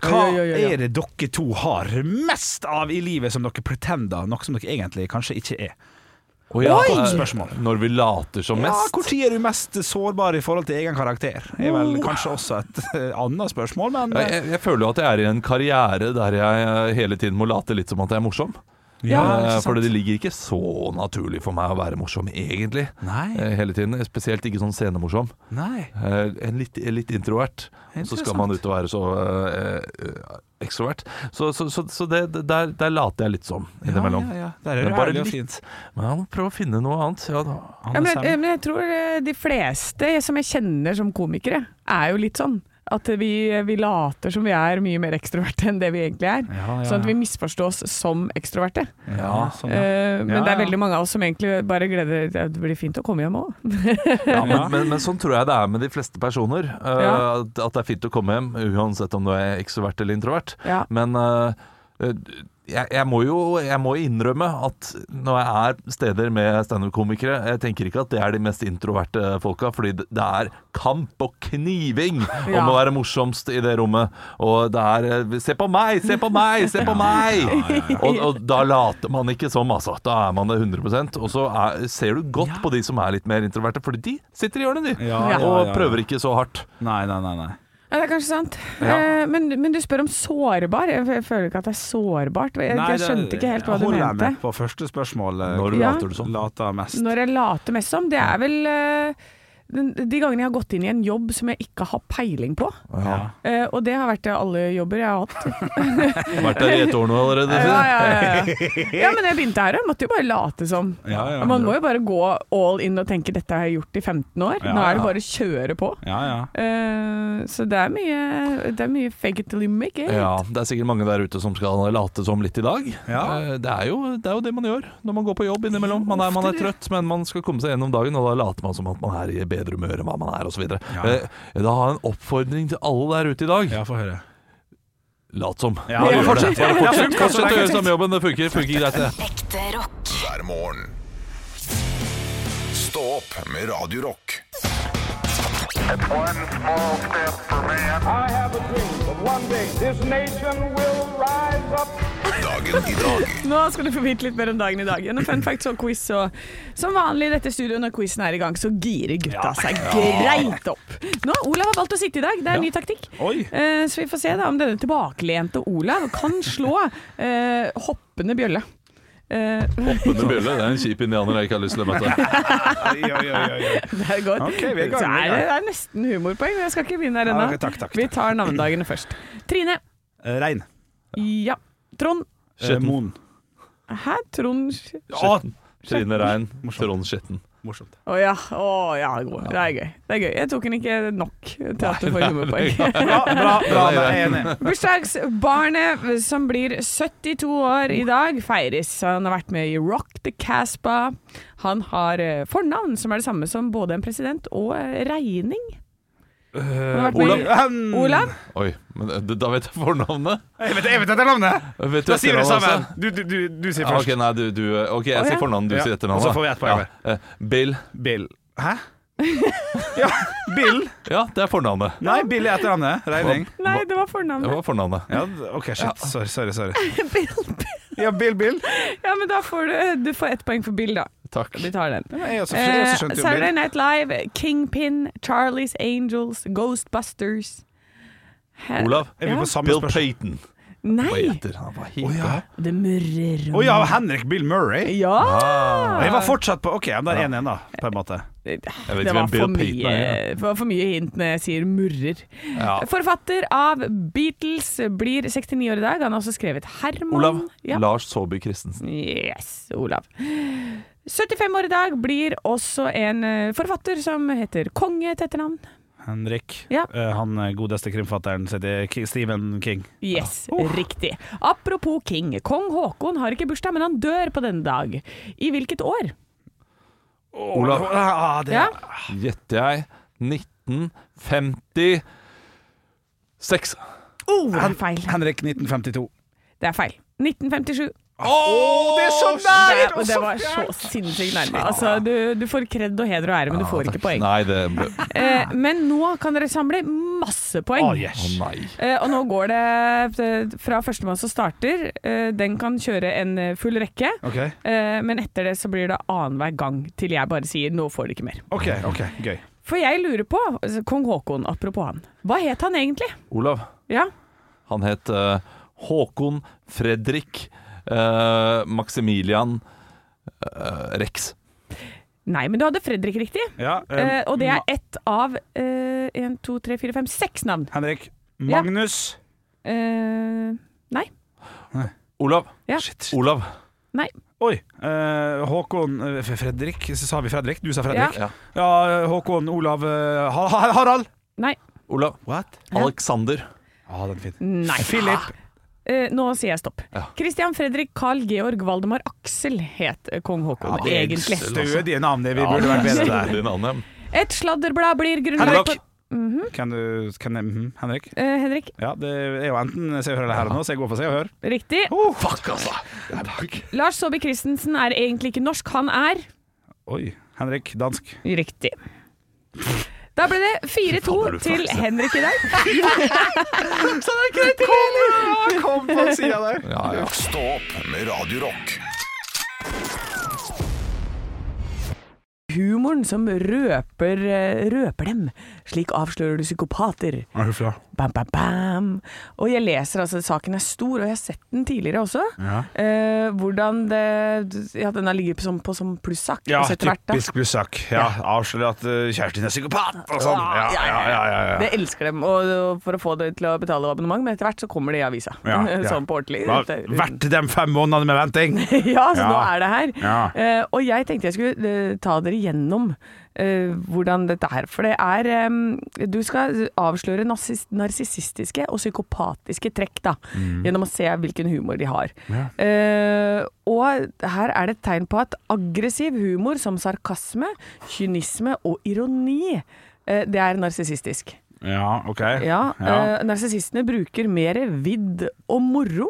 [SPEAKER 4] Hva
[SPEAKER 3] Oi, oi, oi, oi.
[SPEAKER 4] er det dere to har mest av i livet som dere pretender, noe som dere egentlig kanskje ikke er?
[SPEAKER 1] Og ja,
[SPEAKER 4] Oi!
[SPEAKER 1] eh,
[SPEAKER 4] Spørsmål.
[SPEAKER 1] Når vi later som
[SPEAKER 4] Ja,
[SPEAKER 1] mest.
[SPEAKER 4] Når er du mest sårbar i forhold til egen karakter? er vel
[SPEAKER 3] Oh.
[SPEAKER 4] kanskje også et eh, annet spørsmål, men eh,
[SPEAKER 1] Ja, Jeg, jeg føler jo at jeg er i en karriere der jeg eh, hele tiden må late litt som at jeg er morsom.
[SPEAKER 4] Ja,
[SPEAKER 1] Eh,
[SPEAKER 4] ikke sant.
[SPEAKER 1] Fordi det ligger ikke så naturlig for meg å være morsom, egentlig.
[SPEAKER 4] Nei.
[SPEAKER 1] Eh, Hele tiden. Spesielt ikke sånn scenemorsom.
[SPEAKER 4] Nei.
[SPEAKER 1] Eh, En litt, en litt introvert. Og så skal man ut og være så eh, eh, ekstrovert. Så, så, så, så det, det- der, der later jeg litt som innimellom.
[SPEAKER 4] Ja, ja, ja. Der er
[SPEAKER 1] Men
[SPEAKER 4] du
[SPEAKER 1] bare
[SPEAKER 4] ærlig og
[SPEAKER 1] litt.
[SPEAKER 4] fint.
[SPEAKER 1] Men jeg må prøve å finne noe annet. Ja, da.
[SPEAKER 4] Anne
[SPEAKER 3] Ja, men,
[SPEAKER 4] Sem.
[SPEAKER 3] jeg, men jeg tror eh, de fleste som jeg kjenner som komikere, er jo litt sånn. At vi, vi later som vi er mye mer ekstroverte enn det vi egentlig er.
[SPEAKER 4] Ja, ja,
[SPEAKER 3] Sånn at vi
[SPEAKER 4] ja.
[SPEAKER 3] misforstås som ekstroverte.
[SPEAKER 4] Ja, sånn, ja.
[SPEAKER 3] Eh, men
[SPEAKER 4] Ja,
[SPEAKER 3] det er
[SPEAKER 4] ja.
[SPEAKER 3] veldig mange av oss som egentlig bare gleder ja, Det blir fint å komme hjem òg.
[SPEAKER 1] Ja, men, men, men sånn tror jeg det er med de fleste personer. eh,
[SPEAKER 3] Ja.
[SPEAKER 1] at, at det er fint å komme hjem, uansett om du er ekstrovert eller introvert.
[SPEAKER 3] Ja.
[SPEAKER 1] Men eh, eh, jeg, jeg må jo jeg må innrømme at når jeg er steder med standup-komikere Jeg tenker ikke at det er de mest introverte folka, fordi det- det er kamp og kniving
[SPEAKER 3] Ja.
[SPEAKER 1] om å være morsomst i det rommet. Og det er eh, 'se på meg, se på meg, se på meg'! Og, og da later man ikke som, altså. Da er man det 100 Og så er, ser du godt på de som er litt mer introverte, fordi de sitter i hjørnet, de.
[SPEAKER 4] Ja,
[SPEAKER 3] Ja.
[SPEAKER 1] Og
[SPEAKER 4] ja, ja, ja.
[SPEAKER 1] prøver ikke så hardt.
[SPEAKER 4] Nei, nei, nei. nei.
[SPEAKER 3] Ja, det er kanskje sant.
[SPEAKER 1] Ja.
[SPEAKER 3] Eh, men, men du spør om sårbar. Jeg, jeg føler ikke at det er sårbart. Jeg,
[SPEAKER 4] Nei,
[SPEAKER 3] jeg skjønte ikke helt hva du
[SPEAKER 4] holder jeg
[SPEAKER 3] mente.
[SPEAKER 4] med på første spørsmål. eh,
[SPEAKER 1] Når
[SPEAKER 3] Ja.
[SPEAKER 1] later du sånn?
[SPEAKER 4] Later mest.
[SPEAKER 3] Når jeg later mest som, det er vel eh, den- de gangene jeg har gått inn i en jobb som jeg ikke har peiling på.
[SPEAKER 1] Ja.
[SPEAKER 3] Eh, og det har vært eh, alle jobber jeg har hatt.
[SPEAKER 1] Vært der i et år nå allerede.
[SPEAKER 3] Ja,
[SPEAKER 1] sier
[SPEAKER 3] ja,
[SPEAKER 1] du?
[SPEAKER 3] ja, ja. ja, men jeg begynte her, jeg måtte jo bare late som.
[SPEAKER 4] Ja, ja.
[SPEAKER 3] Man må jo bare gå all in og tenke 'dette har jeg gjort i 15 år',
[SPEAKER 4] Ja,
[SPEAKER 3] nå er det
[SPEAKER 4] ja.
[SPEAKER 3] bare å kjøre på.
[SPEAKER 4] Ja, ja.
[SPEAKER 3] Eh, så det er mye, det er mye fake it till you make it.
[SPEAKER 1] Ja, det er sikkert mange der ute som skal late som litt i dag.
[SPEAKER 4] Ja.
[SPEAKER 1] Eh, Det, er jo, det er jo det man gjør når man går på jobb innimellom. Man er, man er trøtt, men man skal komme seg gjennom dagen, og da later man som at man er i bedre humør enn hva man er, osv.
[SPEAKER 4] Ja.
[SPEAKER 1] Eh, Da har jeg en oppfordring til alle der ute i dag.
[SPEAKER 4] Ja, få høre.
[SPEAKER 1] Lat som.
[SPEAKER 4] Ja,
[SPEAKER 1] Bare
[SPEAKER 4] gjør
[SPEAKER 1] fortsett,
[SPEAKER 4] det.
[SPEAKER 1] bare
[SPEAKER 4] Ja,
[SPEAKER 1] fortsett,
[SPEAKER 4] fortsett,
[SPEAKER 1] fortsett å gjøre
[SPEAKER 4] fortsett.
[SPEAKER 1] samme jobben. Det funker, funker greit, det.
[SPEAKER 6] Ekte rock.
[SPEAKER 2] hver morgen. Stå opp med Radio Rock.
[SPEAKER 7] One small step for man. I have a dream that one day this nation will rise up.
[SPEAKER 2] Dagen i dag
[SPEAKER 3] Nå skal du få vite litt mer om dagen i dag. Gjennom fun facts og quiz. Og som vanlig i dette studioet når quizen er i gang, så girer gutta seg greit opp. Nå, Olav har valgt å sitte i dag. Det er en ny taktikk.
[SPEAKER 4] Oi.
[SPEAKER 3] Eh, så vi får se da om denne tilbakelente Olav kan slå eh, hoppende bjølle. Eh,
[SPEAKER 1] Hoppende bjølle, det er en kjip indianer jeg ikke har lyst til å møte.
[SPEAKER 4] Oi, oi, oi, oi, oi.
[SPEAKER 3] det er godt.
[SPEAKER 4] Ok, vi er i gang, vi er i
[SPEAKER 3] så
[SPEAKER 4] gang.
[SPEAKER 3] er det, det er nesten humorpoeng, men jeg skal ikke begynne her
[SPEAKER 4] Ja,
[SPEAKER 3] ennå.
[SPEAKER 4] ok, takk, takk,
[SPEAKER 3] Vi tar navnedagene først. Trine.
[SPEAKER 4] Eh, Rein.
[SPEAKER 3] Ja. Trond.
[SPEAKER 4] Eh, Mon.
[SPEAKER 3] Hæ? Trond
[SPEAKER 1] Skjetten. Trine Rein, Trond Skjetten.
[SPEAKER 4] Morsomt.
[SPEAKER 3] Å ja. Å, ja, det er god. Det er gøy. Det er gøy. Jeg tok den ikke nok til at du får humorpoeng.
[SPEAKER 4] Bra, bra, bra. Jeg er enig.
[SPEAKER 3] Bursdagsbarnet som blir 72 år i dag, feires. Han har vært med i Rock the Caspa. Han har eh, fornavn som er det samme som både en president og eh, regning. Han har vært med i-
[SPEAKER 4] Eh, Olav.
[SPEAKER 3] Olav?
[SPEAKER 1] Oi, men eh, da vet jeg fornavnet.
[SPEAKER 4] Jeg vet, jeg vet etter navnet!
[SPEAKER 1] Vet du
[SPEAKER 4] Da sier vi det
[SPEAKER 1] etternavnet
[SPEAKER 4] sammen.
[SPEAKER 1] også?
[SPEAKER 4] Du, du, du, du sier
[SPEAKER 1] Ja,
[SPEAKER 4] først.
[SPEAKER 1] ok, nei, du, du, ok, jeg
[SPEAKER 3] Å, ja.
[SPEAKER 1] sier fornavnet, du
[SPEAKER 4] Ja,
[SPEAKER 1] sier etternavnet.
[SPEAKER 4] og så får vi ett poeng
[SPEAKER 1] Ja. eh, Bill.
[SPEAKER 4] Bill. Hæ? Ja, Bill.
[SPEAKER 1] Ja, det er fornavnet.
[SPEAKER 4] Nei, Bill er etter navnet. Regning.
[SPEAKER 3] Nei, det var
[SPEAKER 1] Det
[SPEAKER 3] fornavnet.
[SPEAKER 1] var fornavnet.
[SPEAKER 4] Ja, d- OK, shit. Sorry, sorry. sorry
[SPEAKER 3] Bill.
[SPEAKER 4] Ja, Bill, Bill.
[SPEAKER 3] Ja, men da får du, du får ett poeng for Bill, da.
[SPEAKER 1] Takk.
[SPEAKER 3] Vi tar den.
[SPEAKER 4] Ja, Jeg også, jeg
[SPEAKER 3] Eh,
[SPEAKER 4] også skjønte jo
[SPEAKER 3] Saturday
[SPEAKER 4] Bill.
[SPEAKER 3] Night Live, Kingpin, Charlies Angels, Ghostbusters. Hæ?
[SPEAKER 1] Olav.
[SPEAKER 4] Er vi på samme
[SPEAKER 1] Bill
[SPEAKER 4] spørsmål?
[SPEAKER 1] Payton. Hva
[SPEAKER 3] Nei!
[SPEAKER 1] heter han? Hva
[SPEAKER 4] Å
[SPEAKER 1] heter
[SPEAKER 4] ja.
[SPEAKER 1] han?
[SPEAKER 3] Det murrer.
[SPEAKER 4] Å ja, Henrik Bill Murray.
[SPEAKER 3] Ja!
[SPEAKER 4] Jeg var fortsatt på OK, men det er 1-1, da, på en måte.
[SPEAKER 3] Det
[SPEAKER 1] Ah. vet
[SPEAKER 3] det
[SPEAKER 1] ikke
[SPEAKER 3] var
[SPEAKER 1] hvem Bill
[SPEAKER 3] for,
[SPEAKER 1] Payton
[SPEAKER 3] mye,
[SPEAKER 1] er,
[SPEAKER 3] det var for mye hint når jeg sier murrer.
[SPEAKER 1] Ja.
[SPEAKER 3] Forfatter av Beatles blir 69 år i dag. Han har også skrevet Herman.
[SPEAKER 1] Olav.
[SPEAKER 3] Ja.
[SPEAKER 1] Lars Saabye Christensen.
[SPEAKER 3] Yes, Olav. 75 år i dag blir også en eh, forfatter som heter Konge til etternavn.
[SPEAKER 4] Henrik.
[SPEAKER 3] Ja.
[SPEAKER 4] Eh, han eh, godeste krimfatteren som heter Ki- Stephen King.
[SPEAKER 3] Yes, riktig. Apropos King. Kong Haakon har ikke bursdag, men han dør på denne dag. I hvilket år?
[SPEAKER 1] Olav.
[SPEAKER 4] Ah, det,
[SPEAKER 3] Ja.
[SPEAKER 1] Gjetter jeg 1956.
[SPEAKER 3] Oh, det er feil.
[SPEAKER 4] Henrik 1952.
[SPEAKER 3] Det er feil. 1957.
[SPEAKER 4] Å, det er så nært!
[SPEAKER 3] Det, det var så sinnssykt nærme. Altså, du, du får kred og heder og ære, men du får ikke poeng.
[SPEAKER 1] Nei, det ble Å
[SPEAKER 3] Eh, men nå kan dere samle masse poeng.
[SPEAKER 4] Å, Ah, yes.
[SPEAKER 1] nei.
[SPEAKER 3] Eh, og nå går det eh, fra førstemann som starter. Eh, den kan kjøre en eh, full rekke.
[SPEAKER 4] Ok,
[SPEAKER 3] Eh, men etter det så blir det annenhver gang til jeg bare sier 'nå får du ikke mer'.
[SPEAKER 4] ok, ok, gøy.
[SPEAKER 3] For jeg lurer på, altså, kong Haakon, apropos han, hva het han egentlig?
[SPEAKER 1] Olav,
[SPEAKER 3] Ja,
[SPEAKER 1] han het eh, Håkon Fredrik eh, Maximilian eh, Rex.
[SPEAKER 3] Nei, men du hadde Fredrik riktig.
[SPEAKER 4] Ja,
[SPEAKER 3] Eh,
[SPEAKER 4] eh,
[SPEAKER 3] og det er
[SPEAKER 4] Ma-
[SPEAKER 3] ett av én, to, tre, fire, fem, seks navn.
[SPEAKER 4] Henrik.
[SPEAKER 3] Ja.
[SPEAKER 4] Magnus.
[SPEAKER 3] Eh, nei.
[SPEAKER 1] Olav,
[SPEAKER 3] Ja.
[SPEAKER 1] Olav.
[SPEAKER 3] Nei.
[SPEAKER 4] Oi. eh, Håkon eh, Fredrik. Så sa vi Fredrik? Du sa Fredrik.
[SPEAKER 1] Ja.
[SPEAKER 4] Ja, eh, Håkon Olav eh, Ha- Ha- Harald.
[SPEAKER 3] Nei.
[SPEAKER 1] Olav.
[SPEAKER 4] What?
[SPEAKER 1] Alexander.
[SPEAKER 4] Ja, den er fin.
[SPEAKER 3] nei.
[SPEAKER 4] Philip.
[SPEAKER 3] Eh, nå sier jeg stopp.
[SPEAKER 1] Ja.
[SPEAKER 3] Christian Fredrik Carl Georg Valdemar Aksel het eh, kong Haakon,
[SPEAKER 4] det er
[SPEAKER 3] egentlig.
[SPEAKER 4] Stødige navn. Det vi burde vært bedre der.
[SPEAKER 1] Din annen.
[SPEAKER 3] Et sladderblad blir grunnlag
[SPEAKER 1] Henrik.
[SPEAKER 3] på
[SPEAKER 4] Kan du kan jeg, mhm, Henrik?
[SPEAKER 3] Eh, Henrik,
[SPEAKER 4] Ja, det er jo enten Se og Hør eller Herre nå, så jeg går for Se og Hør.
[SPEAKER 3] riktig.
[SPEAKER 4] Oh, fuck, altså!
[SPEAKER 3] Lars Saabye Christensen er egentlig ikke norsk, han er
[SPEAKER 4] Oi. Henrik, dansk.
[SPEAKER 3] Riktig. Da ble det 4-2 til Henrik i dag.
[SPEAKER 4] Kom på sida der!
[SPEAKER 1] Ja, ja.
[SPEAKER 2] Stå opp med Radio Rock.
[SPEAKER 3] Humoren som røper, eh, røper dem. Slik avslører du psykopater. Bam, bam, bam. Og jeg leser altså, saken er stor, og jeg har sett den tidligere også.
[SPEAKER 4] Ja.
[SPEAKER 3] Eh, hvordan det Ja, den har ligget som, på som plussak.
[SPEAKER 4] Ja,
[SPEAKER 3] og så etter hvert, da.
[SPEAKER 4] typisk blussak. Ja, avslører at eh, kjæresten din er psykopat og sånn. Ja, ja, ja, ja, ja.
[SPEAKER 3] Det elsker dem, og, og for å få det til å betale abonnement, men etter hvert så kommer det i avisa.
[SPEAKER 4] Ja, ja.
[SPEAKER 3] sånn på ordentlig.
[SPEAKER 4] Hva-
[SPEAKER 3] Det-
[SPEAKER 4] Verdt de fem månedene med venting!
[SPEAKER 3] ja, så nå
[SPEAKER 4] Ja.
[SPEAKER 3] er det her.
[SPEAKER 4] Ja.
[SPEAKER 3] Eh, og jeg tenkte jeg skulle eh, ta dere gjennom eh, hvordan dette er. For det er eh, Du skal avsløre narsis- narsissistiske og psykopatiske trekk, da.
[SPEAKER 4] Mm.
[SPEAKER 3] Gjennom å se hvilken humor de har. Eh, og her er det et tegn på at aggressiv humor som sarkasme, kynisme og ironi, eh, det er narsissistisk.
[SPEAKER 4] Ja, ok.
[SPEAKER 3] Ja,
[SPEAKER 4] ja.
[SPEAKER 3] eh, narsissistene bruker mer vidd og moro.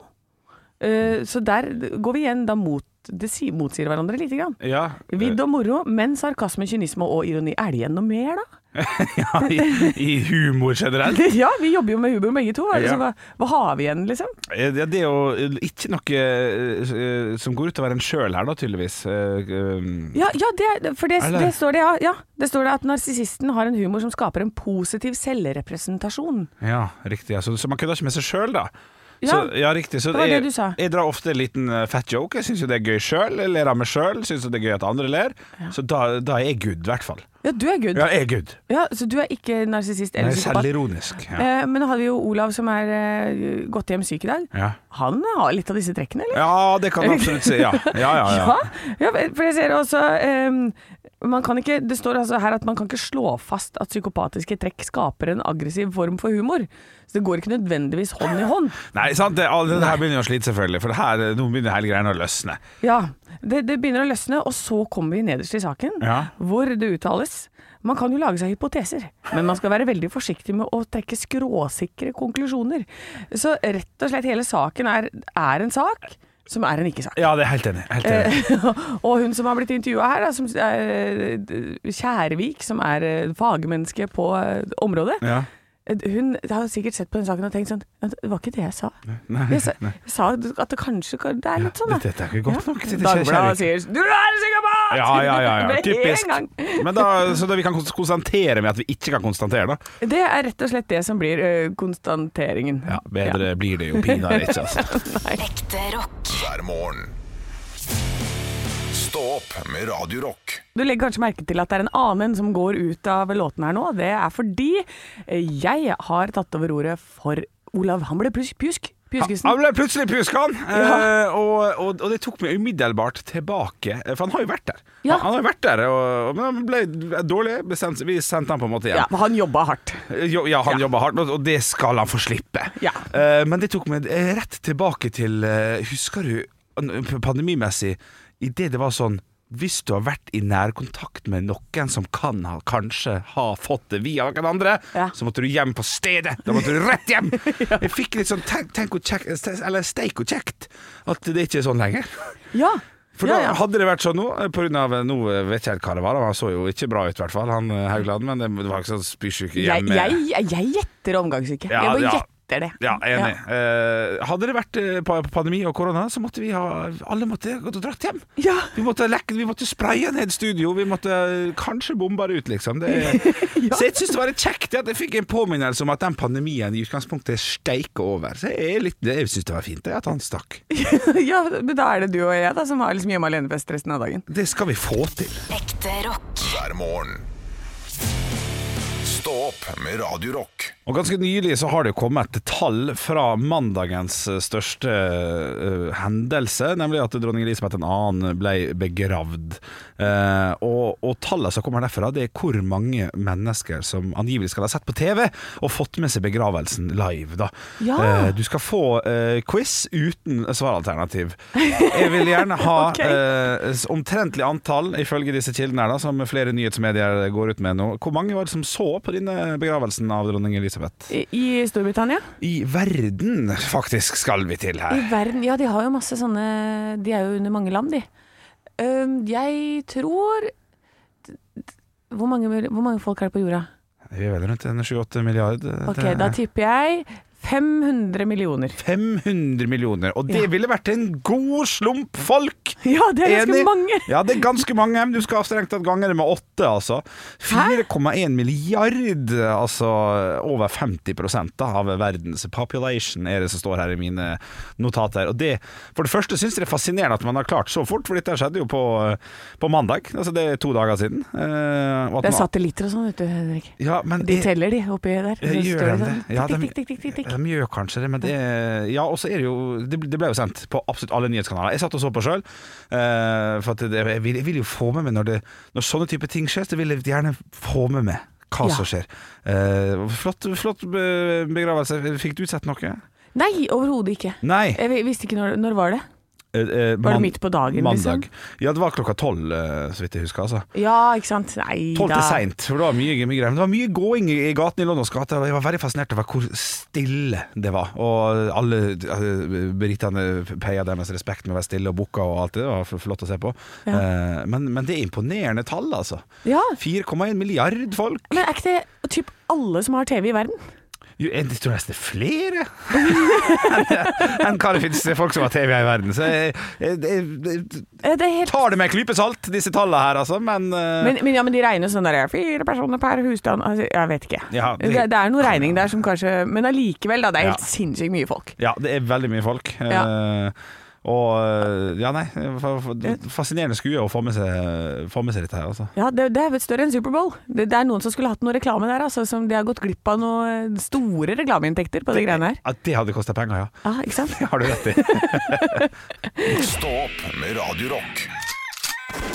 [SPEAKER 3] Eh, så der går vi igjen da mot Det si- motsier hverandre lite grann.
[SPEAKER 4] ja.
[SPEAKER 3] Vidd og moro, men sarkasme, kynisme og ironi. Er det igjen noe mer, da?
[SPEAKER 4] ja i, I humor generelt.
[SPEAKER 3] ja, vi jobber jo med humor begge to. Hva, er det
[SPEAKER 4] Ja.
[SPEAKER 3] som- hva, hva har vi igjen, liksom?
[SPEAKER 4] Eh, Det det er jo ikke noe eh, som går utover en sjøl her, da, tydeligvis. Eh, eh,
[SPEAKER 3] Ja, ja det, er- for det,
[SPEAKER 4] Er det?
[SPEAKER 3] det står det, ja. ja. Det står det at narsissisten har en humor som skaper en positiv selvrepresentasjon.
[SPEAKER 4] Ja, riktig. Ja. Så, så man kødder ikke med seg sjøl, da.
[SPEAKER 3] Ja.
[SPEAKER 4] Så, ja, riktig. Så
[SPEAKER 3] Det var det
[SPEAKER 4] jeg,
[SPEAKER 3] du sa.
[SPEAKER 4] jeg drar ofte en liten eh, fat joke. Jeg syns jo det er gøy sjøl. Jeg ler av meg sjøl. Syns jo det er gøy at andre ler. Så da, da er jeg good, i hvert fall.
[SPEAKER 3] Ja, du er good.
[SPEAKER 4] Ja,
[SPEAKER 3] Ja.
[SPEAKER 4] jeg er good.
[SPEAKER 3] så du er ikke narsissist eller
[SPEAKER 4] Jeg er
[SPEAKER 3] psykopat.
[SPEAKER 4] selvironisk. Ja.
[SPEAKER 3] Eh, men nå hadde vi jo Olav som er eh, gått hjem syk i dag.
[SPEAKER 4] Ja.
[SPEAKER 3] Han har litt av disse trekkene, eller?
[SPEAKER 4] ja, det kan du absolutt si. Ja, ja, ja. ja.
[SPEAKER 3] Ja, for jeg ser også ehm, man kan ikke, Det står altså her at man kan ikke slå fast at psykopatiske trekk skaper en aggressiv form for humor. Så det går ikke nødvendigvis hånd i hånd.
[SPEAKER 4] Nei, sant? Det, all- det her begynner jo å slite, selvfølgelig. For det her, eh, nå begynner hele greia å løsne.
[SPEAKER 3] Ja, det, det begynner å løsne, og så kommer vi nederst i saken,
[SPEAKER 4] Ja.
[SPEAKER 3] hvor det uttales man kan jo lage seg hypoteser, men man skal være veldig forsiktig med å trekke skråsikre konklusjoner. Så rett og slett hele saken er, er en sak som er en ikke-sak.
[SPEAKER 4] Ja, det er helt enig. Helt
[SPEAKER 3] Eh,
[SPEAKER 4] enig.
[SPEAKER 3] og hun som har blitt intervjua her, da, som er, eh, Kjærvik, som er eh, fagmenneske på eh, området,
[SPEAKER 4] Ja.
[SPEAKER 3] eh, hun har sikkert sett på den saken og tenkt sånn «Ja, Det var ikke det jeg sa. jeg sa, jeg sa at det kanskje kan- Det er litt sånn,
[SPEAKER 4] Dette, dette er ikke godt nok. Dette er
[SPEAKER 3] Dagbladet
[SPEAKER 4] Kjærvik.
[SPEAKER 3] sier 'Du er en psykopat!'
[SPEAKER 4] Ja, ja, ja, ja.
[SPEAKER 3] Med en
[SPEAKER 4] Typisk.
[SPEAKER 3] gang.
[SPEAKER 4] Men da, så da vi kan kons- konstatere med at vi ikke kan konstatere, da.
[SPEAKER 3] Det er rett og slett det som blir eh, konstateringen.
[SPEAKER 4] Ja, bedre blir det jo pinadø ikke, altså.
[SPEAKER 6] Ekte rock.
[SPEAKER 2] hver morgen. Stå opp med Radio Rock.
[SPEAKER 3] Du legger kanskje merke til at det er en annen som går ut av låten her nå. Det er fordi eh, jeg har tatt over ordet for Olav. Han ble plutselig pjusk.
[SPEAKER 4] Han
[SPEAKER 3] Pjuskesen.
[SPEAKER 4] ble plutselig pjuskan, eh, og, og, og det tok meg umiddelbart tilbake. eh, For han har jo vært der.
[SPEAKER 3] Ja.
[SPEAKER 4] Han, han har jo vært der, og, og- men han ble dårlig. Bestemt, vi sendte han på en måte hjem.
[SPEAKER 3] Ja, han jobba hardt.
[SPEAKER 4] Jo, ja, han
[SPEAKER 3] Ja.
[SPEAKER 4] jobber hardt, og det skal han få slippe.
[SPEAKER 3] Ja.
[SPEAKER 4] Eh, men det tok meg eh, rett tilbake til eh, Husker du, an- pandemimessig, idet det var sånn hvis du har vært i nærkontakt med noen som kan ha, kanskje ha fått det via noen andre,
[SPEAKER 3] Ja.
[SPEAKER 4] så måtte du hjem på stedet. Da måtte du rett hjem! Jeg fikk litt sånn tenk, tenk og kjekt, eller steik og kjekt, at det ikke er sånn lenger.
[SPEAKER 3] Ja.
[SPEAKER 4] For
[SPEAKER 3] ja,
[SPEAKER 4] da
[SPEAKER 3] ja.
[SPEAKER 4] hadde det vært sånn nå, på grunn av Nå vet jeg ikke hva det var, da, han så jo ikke bra ut i hvert fall, han eh, Haugland, men det var ikke sånn spysyke
[SPEAKER 3] Jeg,
[SPEAKER 4] hjemme.
[SPEAKER 3] jeg, jeg gjetter omgangssyke.
[SPEAKER 4] Ja,
[SPEAKER 3] jeg bare
[SPEAKER 4] ja.
[SPEAKER 3] gjetter det.
[SPEAKER 4] Ja, jeg er enig. Eh, hadde det vært eh, pa- pandemi og korona, så måtte vi ha Alle måtte gått og dratt hjem.
[SPEAKER 3] Ja.
[SPEAKER 4] Vi måtte, lekke, vi måtte spraye ned studio, vi måtte eh, kanskje bombe det ut, liksom. Det, Så jeg syns det var litt kjekt at jeg fikk en påminnelse om at den pandemien i utgangspunktet steiker over. Så jeg, er litt, jeg syns det var fint det, at han stakk.
[SPEAKER 3] Ja. ja, men da er det du og jeg da som har liksom hjemme alene-fest resten av dagen.
[SPEAKER 4] Det skal vi få til.
[SPEAKER 8] Ekte rock.
[SPEAKER 2] hver morgen. Stå opp med Radio Rock.
[SPEAKER 4] Og ganske nylig så har det jo kommet tall fra mandagens største eh, hendelse, nemlig at dronning Elisabeth 2. ble begravd. Eh, og, og tallene som kommer derfra, det er hvor mange mennesker som angivelig skal ha sett på TV og fått med seg begravelsen live, da.
[SPEAKER 3] Ja.
[SPEAKER 4] Eh, du skal få eh, quiz uten svaralternativ. Jeg vil gjerne ha
[SPEAKER 3] Ok.
[SPEAKER 4] eh, s- omtrentlig antall, ifølge disse kildene her, da, som flere nyhetsmedier går ut med nå. Hvor mange var det som så på denne begravelsen av dronning Elisabeth?
[SPEAKER 3] I, i Storbritannia?
[SPEAKER 4] I verden, faktisk, skal vi til
[SPEAKER 3] I
[SPEAKER 4] her.
[SPEAKER 3] verden, ja, de har jo masse sånne De er jo under mange land, de. Øhm, jeg tror hvor mange, hvor mange folk er det på jorda?
[SPEAKER 4] Vi er vel rundt en 7-8 milliard. eh,
[SPEAKER 3] Ok,
[SPEAKER 4] det-
[SPEAKER 3] Da tipper jeg 500 millioner.
[SPEAKER 4] 500 millioner. Og det
[SPEAKER 3] Ja.
[SPEAKER 4] ville vært en god slump folk!
[SPEAKER 3] Ja, det er ganske
[SPEAKER 4] Enig.
[SPEAKER 3] mange!
[SPEAKER 4] Ja, det er ganske mange. Du skal strengt tatt gange det med åtte, altså. 4,1 milliard, altså over 50 da, av verdens population, er det som står her i mine notater. Og det, for det første syns jeg det er fascinerende at man har klart så fort, for dette skjedde jo på, på mandag. Altså det er to dager siden. Eh, og at
[SPEAKER 3] Det er
[SPEAKER 4] man-
[SPEAKER 3] satellitter og sånn, vet du, Henrik.
[SPEAKER 4] ja, men
[SPEAKER 3] De
[SPEAKER 4] det-
[SPEAKER 3] teller, de, oppi der.
[SPEAKER 4] Ja,
[SPEAKER 3] Så
[SPEAKER 4] gjør
[SPEAKER 3] står
[SPEAKER 4] de
[SPEAKER 3] sånn,
[SPEAKER 4] det? Ja,
[SPEAKER 3] tikk,
[SPEAKER 4] de-
[SPEAKER 3] tikk, tikk, tikk, tikk, tikk.
[SPEAKER 4] De gjør Eh, kanskje det, men det Ja, og så er det jo Det ble det ble jo sendt på absolutt alle nyhetskanaler. Jeg satt og så på sjøl, for at det, jeg, vil, jeg vil jo få med meg når, det, når sånne type ting skjer, så vil jeg gjerne få med meg hva
[SPEAKER 3] Ja.
[SPEAKER 4] som skjer. Eh, flott, flott be- begravelse. Fikk du sett noe?
[SPEAKER 3] Nei, overhodet ikke.
[SPEAKER 4] Nei.
[SPEAKER 3] Jeg vi- visste ikke når, når var det
[SPEAKER 4] Eh,
[SPEAKER 3] Var
[SPEAKER 4] eh,
[SPEAKER 3] det
[SPEAKER 4] man-
[SPEAKER 3] midt på dagen,
[SPEAKER 4] Mandag.
[SPEAKER 3] liksom?
[SPEAKER 4] Ja, det var klokka tolv, eh, så vidt jeg husker. altså
[SPEAKER 3] Ja, ikke sant. Nei
[SPEAKER 4] Tolv
[SPEAKER 3] da.
[SPEAKER 4] til seint, for det var mye, mye greier. Men det var mye gåing i i gaten i Londons gate, og jeg var veldig fascinert over hvor stille det var. Og alle eh, britene peia deres respekt med å være stille og bukka og alt det. Det var f- flott å se på. Eh, Men, men det er imponerende tall, altså.
[SPEAKER 3] Ja.
[SPEAKER 4] 4,1 milliard folk.
[SPEAKER 3] Men er ikke det typ alle som har TV i verden?
[SPEAKER 4] Jo, jeg tror nesten det er flere enn hva det finnes folk som har TV i verden. Så jeg, jeg, jeg, jeg
[SPEAKER 3] Eh, Det er helt
[SPEAKER 4] tar det med en klype salt, disse tallene her, altså. Men, eh,
[SPEAKER 3] men, men, ja, men de regner sånn der Fire personer per husstand altså, Jeg vet ikke.
[SPEAKER 4] Ja,
[SPEAKER 3] det,
[SPEAKER 4] det-
[SPEAKER 3] det, er noe regning der som kanskje Men allikevel, da. Det er helt
[SPEAKER 4] Ja.
[SPEAKER 3] sinnssykt mye folk.
[SPEAKER 4] Ja, det er veldig mye folk. Eh, og eh, ja, nei. fa- fa- Fascinerende skue å få med seg, få med seg dette her, altså.
[SPEAKER 3] Ja, det, det er vel større enn Superbowl. Det, det er noen som skulle hatt noe reklame der, altså. Som de har gått glipp av noen store reklameinntekter på de greiene her.
[SPEAKER 4] Ja, det hadde kosta penger, ja.
[SPEAKER 3] Ja, ikke sant?
[SPEAKER 4] Det har du rett i.
[SPEAKER 2] Stå opp med Radio Rock.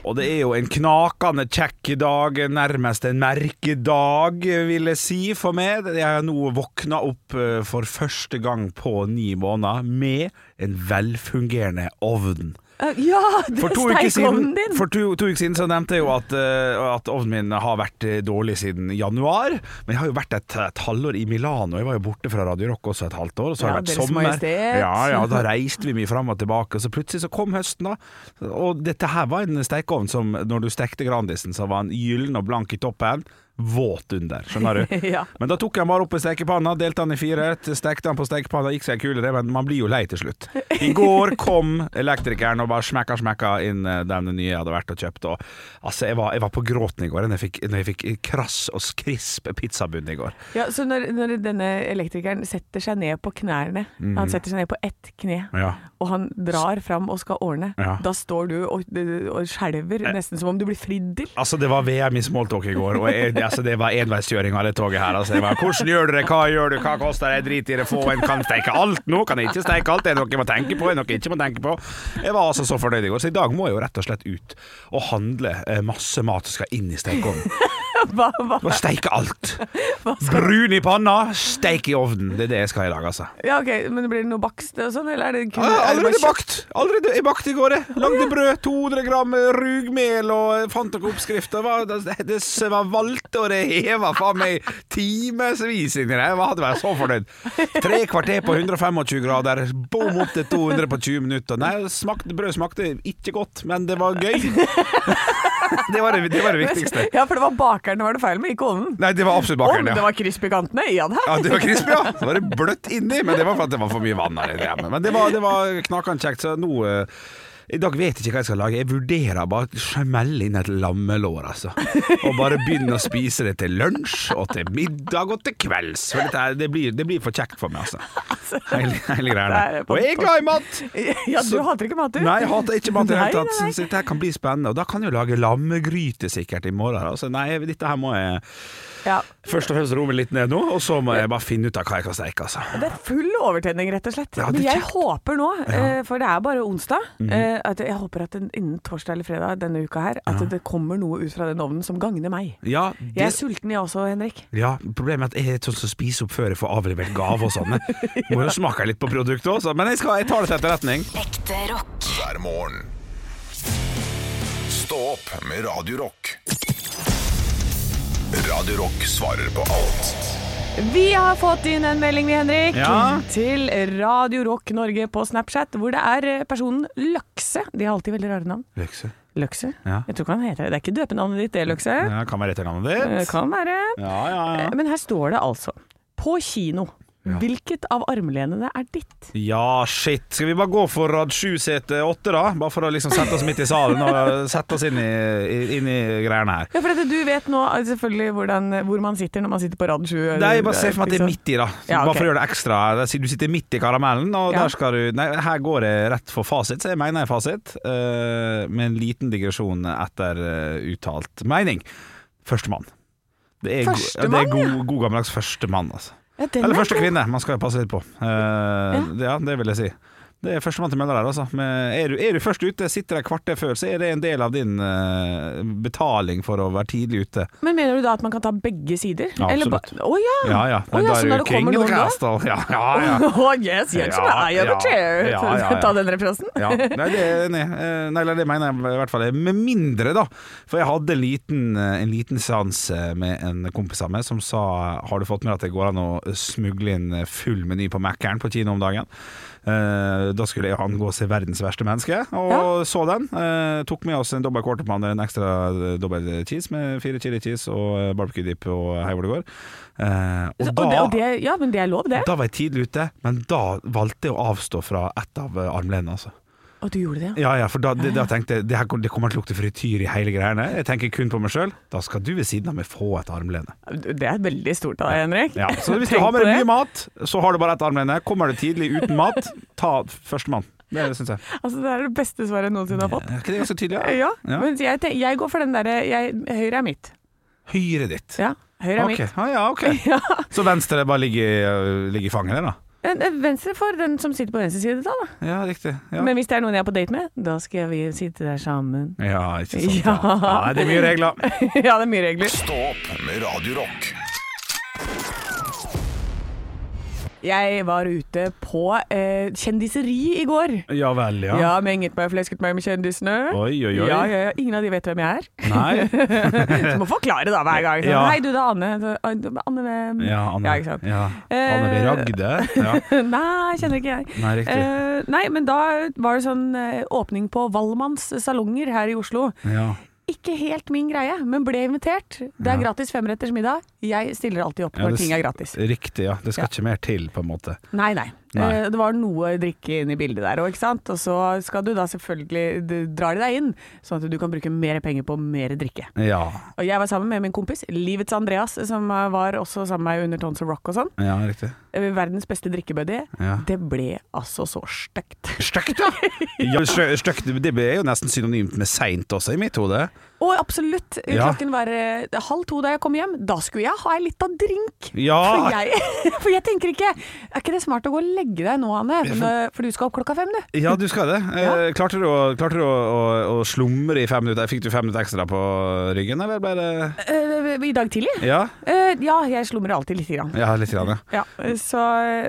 [SPEAKER 4] Og det er jo en knakende kjekk dag, nærmest en merkedag, vil jeg si for meg. Jeg har nå våkna opp eh, for første gang på ni måneder med en velfungerende ovn.
[SPEAKER 3] Eh, Ja, det
[SPEAKER 4] For
[SPEAKER 3] er
[SPEAKER 4] to, uker siden,
[SPEAKER 3] steikovnen din!
[SPEAKER 4] for to, to uker siden så nevnte jeg jo at, eh, at ovnen min har vært eh, dårlig siden januar. Men jeg har jo vært et, et halvår i Milano. Jeg var jo borte fra Radio Rock også et halvt år. Og så
[SPEAKER 3] Ja,
[SPEAKER 4] har det vært
[SPEAKER 3] Deres
[SPEAKER 4] sommer.
[SPEAKER 3] Majestet.
[SPEAKER 4] Ja, ja, da reiste vi mye fram og tilbake. Og så plutselig så kom høsten, da. Og dette her var en stekeovn som når du stekte Grandisen, så var den gyllen og blank i toppen. Våt under, skjønner du.
[SPEAKER 3] Ja.
[SPEAKER 4] Men da tok jeg den bare opp i stekepanna, delte den i fire, stekte den på stekepanna, gikk seg kul i det, men man blir jo lei til slutt. I går kom elektrikeren og bare smekka, smekka inn eh, den nye jeg hadde vært og kjøpt. Og, altså, jeg var, jeg var på gråten i går når jeg fikk, når jeg fikk krass og skrisp pizzabunn i går.
[SPEAKER 3] Ja, så når, når denne elektrikeren setter seg ned på knærne Han setter seg ned på ett kne,
[SPEAKER 4] Mm. Ja.
[SPEAKER 3] og han drar fram og skal ordne.
[SPEAKER 4] Ja.
[SPEAKER 3] Da står du og, og skjelver, nesten som om du blir fridd til.
[SPEAKER 4] Altså, det var VM i smalltalk i går, og jeg, det- altså, det var enveiskjøring av det toget her. Altså, jeg var, Hvordan gjør du det, hva gjør du, hva koster det, drit i det, få en kan steike alt nå, kan jeg ikke steike alt, er det noe jeg må tenke på, er det noe jeg ikke må tenke på. Jeg var altså så fornøyd i går, så i dag må jeg jo rett og slett ut og handle eh, masse mat som skal inn i stekeovnen.
[SPEAKER 3] hva, hva?
[SPEAKER 4] Bare steike alt. Brun i panna, steik i ovnen. Det er det jeg skal i dag, altså.
[SPEAKER 3] Ja, ok, men blir det noe bakst og sånn, eller er det kun
[SPEAKER 4] Ja,
[SPEAKER 3] er det bare
[SPEAKER 4] Ah, Allerede
[SPEAKER 3] kjøtt?
[SPEAKER 4] bakt! Allerede er bakt i går, jeg. Lagde brød, 200 gram rugmel og jeg fant noen oppskrifter. Hva- Det det var valgt, og det heva faen meg timevis inni der. Jeg hadde vært så fornøyd. Tre kvarter på 125 grader, bom opp til 200 på 20 minutter. Nei, smakte, brød smakte ikke godt, men det var gøy. Det var det, det, var det viktigste.
[SPEAKER 3] Ja, for det var bakeren det var det feil med, ikke ovnen.
[SPEAKER 4] Nei, det var absolutt
[SPEAKER 3] Om
[SPEAKER 4] bakeren,
[SPEAKER 3] det
[SPEAKER 4] ja.
[SPEAKER 3] var crisp i kantene, ja det
[SPEAKER 4] Ja, det var crispy, ja. Så var det bløtt inni, men det var for at det var for mye vann. her i det. Men det var, det var knakende kjekt, så nå eh, i dag vet jeg ikke hva jeg skal lage. Jeg vurderer bare å smelle inn et lammelår, altså. Og bare begynne å spise det til lunsj, og til middag og til kvelds. For dette, her, det, blir, det blir for kjekt for meg, altså. Hele, hele greia der. Og jeg er glad i mat!
[SPEAKER 3] Ja, du
[SPEAKER 4] Så-
[SPEAKER 3] hater ikke mat, du.
[SPEAKER 4] Nei, jeg hater ikke mat i det
[SPEAKER 3] Nei,
[SPEAKER 4] hele tatt.
[SPEAKER 3] nei, nei.
[SPEAKER 4] Så dette her kan bli spennende. Og da kan jeg jo lage lammegryte sikkert i morgen. Altså, nei, dette her må jeg
[SPEAKER 3] Ja.
[SPEAKER 4] Først og fremst roe meg litt ned nå, og så må jeg bare finne ut av hva jeg kan steike. Altså.
[SPEAKER 3] Det er full overtenning, rett og slett.
[SPEAKER 4] Ja, det er Mhm.
[SPEAKER 3] Men jeg
[SPEAKER 4] kjekt.
[SPEAKER 3] håper nå, eh, for det er bare onsdag, eh, at jeg håper at den- innen torsdag eller fredag denne uka her, at det kommer noe ut fra den ovnen som gagner meg.
[SPEAKER 4] Ja,
[SPEAKER 3] Jeg er
[SPEAKER 4] det,
[SPEAKER 3] sulten jeg også, Henrik.
[SPEAKER 4] ja, problemet er at jeg er sånn som spiser opp før jeg får avlevert gave og sånn. Jeg Må jo smake litt på produktet også, men jeg, skal, jeg tar det til etterretning.
[SPEAKER 8] Ekte rock.
[SPEAKER 2] hver morgen. Stå opp med Radio Rock. Radio Rock svarer på alt.
[SPEAKER 3] Vi har fått inn en melding, vi, Henrik,
[SPEAKER 4] Ja.
[SPEAKER 3] til Radio Rock Norge på Snapchat, hvor det er eh, personen Løkse. De har alltid veldig rare navn.
[SPEAKER 4] Løkse.
[SPEAKER 3] Løkse?
[SPEAKER 4] Ja.
[SPEAKER 3] Jeg tror ikke han heter det. Det er ikke døpenavnet ditt, det, Løkse.
[SPEAKER 4] Ja, kan være etternavnet
[SPEAKER 3] Eh,
[SPEAKER 4] ditt.
[SPEAKER 3] Kan være.
[SPEAKER 4] Ja, ja, ja.
[SPEAKER 3] Eh, Men her står det altså På kino. Hvilket av armlenene er ditt?
[SPEAKER 4] Ja, shit. Skal vi bare gå for rad 7 sete 8, da? Bare for å liksom sette oss midt i salen og sette oss inn i, i- inn i greiene her.
[SPEAKER 3] Ja, for at du vet nå eh, selvfølgelig hvordan, hvor man sitter når man sitter på rad 7.
[SPEAKER 4] Nei, bare se for meg at det er midt i, da.
[SPEAKER 3] Ja,
[SPEAKER 4] Bare
[SPEAKER 3] ok.
[SPEAKER 4] for å gjøre det ekstra. Der sitter- Du sitter midt i karamellen, og
[SPEAKER 3] Ja.
[SPEAKER 4] der skal du Nei, her går det rett for fasit, så jeg mener jeg fasit. eh, med en liten digresjon etter eh, uttalt mening. Førstemann. Det er, go- ja, det
[SPEAKER 3] Førstemann,
[SPEAKER 4] er god, god gammeldags førstemann, altså.
[SPEAKER 3] Ja, den
[SPEAKER 4] Eller
[SPEAKER 3] er
[SPEAKER 4] første
[SPEAKER 3] god.
[SPEAKER 4] kvinne, man skal jo passe litt på. Eh, det- ja, det vil jeg si. Det er førstemann til melder der, altså. Men er, du, er du først ute, sitter der kvarter før, så er det en del av din eh, betaling for å være tidlig ute.
[SPEAKER 3] Men mener du da at man kan ta begge sider?
[SPEAKER 4] Ja,
[SPEAKER 3] Eller ba-
[SPEAKER 4] absolutt.
[SPEAKER 3] Å ja!
[SPEAKER 4] Ja ja.
[SPEAKER 3] Ah. Å, ja,
[SPEAKER 4] da
[SPEAKER 3] så når det
[SPEAKER 4] king
[SPEAKER 3] kommer
[SPEAKER 4] of the
[SPEAKER 3] noen da?
[SPEAKER 4] castle. Ja, ja, ja.
[SPEAKER 3] Oh, yes, gentlemen,
[SPEAKER 4] Ja,
[SPEAKER 3] I have
[SPEAKER 4] ja,
[SPEAKER 3] a chair.
[SPEAKER 4] ja, ja, ja.
[SPEAKER 3] Ta den referansen.
[SPEAKER 4] Ja, nei, det, nei, eh, nei, eller det mener jeg i hvert fall Med mindre da For jeg hadde en liten, eh, en liten seans eh, Med en kompis av meg som sa Har du fått med deg at det går an å eh, smugle inn Full meny på Mac'eren på kino om dagen Eh, Da skulle jeg og han gå og se Verdens verste menneske Og
[SPEAKER 3] Ja.
[SPEAKER 4] så den Eh, Tok med oss en dobbelt quarterpound En ekstra eh, dobbelt cheese Med fire chili cheese og eh, barbecue dip Og hei hvor det går Eh,
[SPEAKER 3] Så- Og det, og det, ja, men det er lov, det.
[SPEAKER 4] da var jeg tidlig ute, men da valgte jeg å avstå fra et av eh, armlenene. Altså.
[SPEAKER 3] Og du gjorde det, ja.
[SPEAKER 4] Ja, ja, for da, det, da tenkte jeg det, her, kom- det kommer til å lukte frityr i hele greiene. Jeg tenker kun på meg sjøl. Da skal du ved siden av meg få et armlene.
[SPEAKER 3] Det er veldig stort av deg, Henrik.
[SPEAKER 4] Ja, så hvis du
[SPEAKER 3] Tenk
[SPEAKER 4] har med
[SPEAKER 3] på
[SPEAKER 4] deg
[SPEAKER 3] det.
[SPEAKER 4] mye mat, så har du bare ett armlene. Kommer du tidlig uten mat, ta førstemann. Det syns jeg.
[SPEAKER 3] Altså, det er det beste svaret jeg noensinne har fått.
[SPEAKER 4] Er ikke det ganske tydelig?
[SPEAKER 3] Eh, Ja, men jeg, tenk- jeg går for den derre jeg- Høyre er mitt.
[SPEAKER 4] Høyre ditt.
[SPEAKER 3] Ja, høyre er
[SPEAKER 4] Ok,
[SPEAKER 3] mitt.
[SPEAKER 4] ja, ja, ok. Så venstre bare ligger, ligger i fanget der, da?
[SPEAKER 3] Men, eh, Venstre for den som sitter på venstre side, da. da.
[SPEAKER 4] Ja, riktig. Ja.
[SPEAKER 3] Men hvis det er noen jeg er på date med, da skal vi sitte der sammen.
[SPEAKER 4] ja, ikke sant. Ja.
[SPEAKER 3] Ja.
[SPEAKER 4] Nei, det er mye regler.
[SPEAKER 3] ja, det er mye regler.
[SPEAKER 2] Stå opp med Radio Rock.
[SPEAKER 3] Jeg var ute på eh, kjendiseri i går.
[SPEAKER 4] Ja vel,
[SPEAKER 3] Ja,
[SPEAKER 4] ja.
[SPEAKER 3] menget meg og flesket meg med kjendisene.
[SPEAKER 4] Oi, oi, oi.
[SPEAKER 3] Ja, ja, ja. Ingen av de vet hvem jeg er.
[SPEAKER 4] Nei.
[SPEAKER 3] Du må forklare da hver gang. Sånn,
[SPEAKER 4] Ja.
[SPEAKER 3] Hei, du, det er Anne. Så, «Oi, du, Anne hvem?»
[SPEAKER 4] Ja, Anne,
[SPEAKER 3] Ja, ikke sant?
[SPEAKER 4] ja.
[SPEAKER 3] Eh,
[SPEAKER 4] Anne B. Ragde. Ja.
[SPEAKER 3] Nei, kjenner ikke jeg.
[SPEAKER 4] Nei, riktig.
[SPEAKER 3] Eh, nei, men da var det sånn eh, åpning på Wallmanns salonger her i Oslo.
[SPEAKER 4] Ja.
[SPEAKER 3] Ikke helt min greie, men ble invitert. Det er gratis femretters middag. Jeg stiller alltid opp
[SPEAKER 4] Ja,
[SPEAKER 3] når
[SPEAKER 4] det-
[SPEAKER 3] ting er gratis.
[SPEAKER 4] Riktig, ja. Det
[SPEAKER 3] Ja.
[SPEAKER 4] skal ikke mer til, på en måte.
[SPEAKER 3] Nei, nei.
[SPEAKER 4] Nei.
[SPEAKER 3] Eh, det var noe drikke inn i bildet der òg, ikke sant. Og så skal du da selvfølgelig du, drar de deg inn, sånn at du kan bruke mer penger på mer drikke.
[SPEAKER 4] Ja,
[SPEAKER 3] Og jeg var sammen med min kompis Livets Andreas, som eh, var også sammen med meg under Tons of Rock og sånn.
[SPEAKER 4] ja riktig.
[SPEAKER 3] Eh, Verdens beste drikkebuddy.
[SPEAKER 4] Ja.
[SPEAKER 3] Det ble altså så stygt.
[SPEAKER 4] Støkt, ja! stø- støkt, det er jo nesten synonymt med seint også, i mitt hode.
[SPEAKER 3] Og absolutt,
[SPEAKER 4] Ja.
[SPEAKER 3] klokken var eh, halv to da jeg kom hjem. Da skulle jeg ha ei lita drink. For,
[SPEAKER 4] Ja!
[SPEAKER 3] jeg, for jeg tenker ikke Er ikke det smart å gå og legge deg nå, Anne? Nå- For du skal opp klokka fem, du.
[SPEAKER 4] Ja, du skal det. Eh,
[SPEAKER 3] Ja.
[SPEAKER 4] Klarte du, å, klarte du å, å, å slumre i fem minutter? Fikk du fem minutter ekstra på ryggen, eller ble det
[SPEAKER 3] Eh, eh, i dag tidlig?
[SPEAKER 4] Ja,
[SPEAKER 3] Eh, ja, jeg slumrer alltid lite grann.
[SPEAKER 4] ja litt. Grann, ja.
[SPEAKER 3] Ja, så,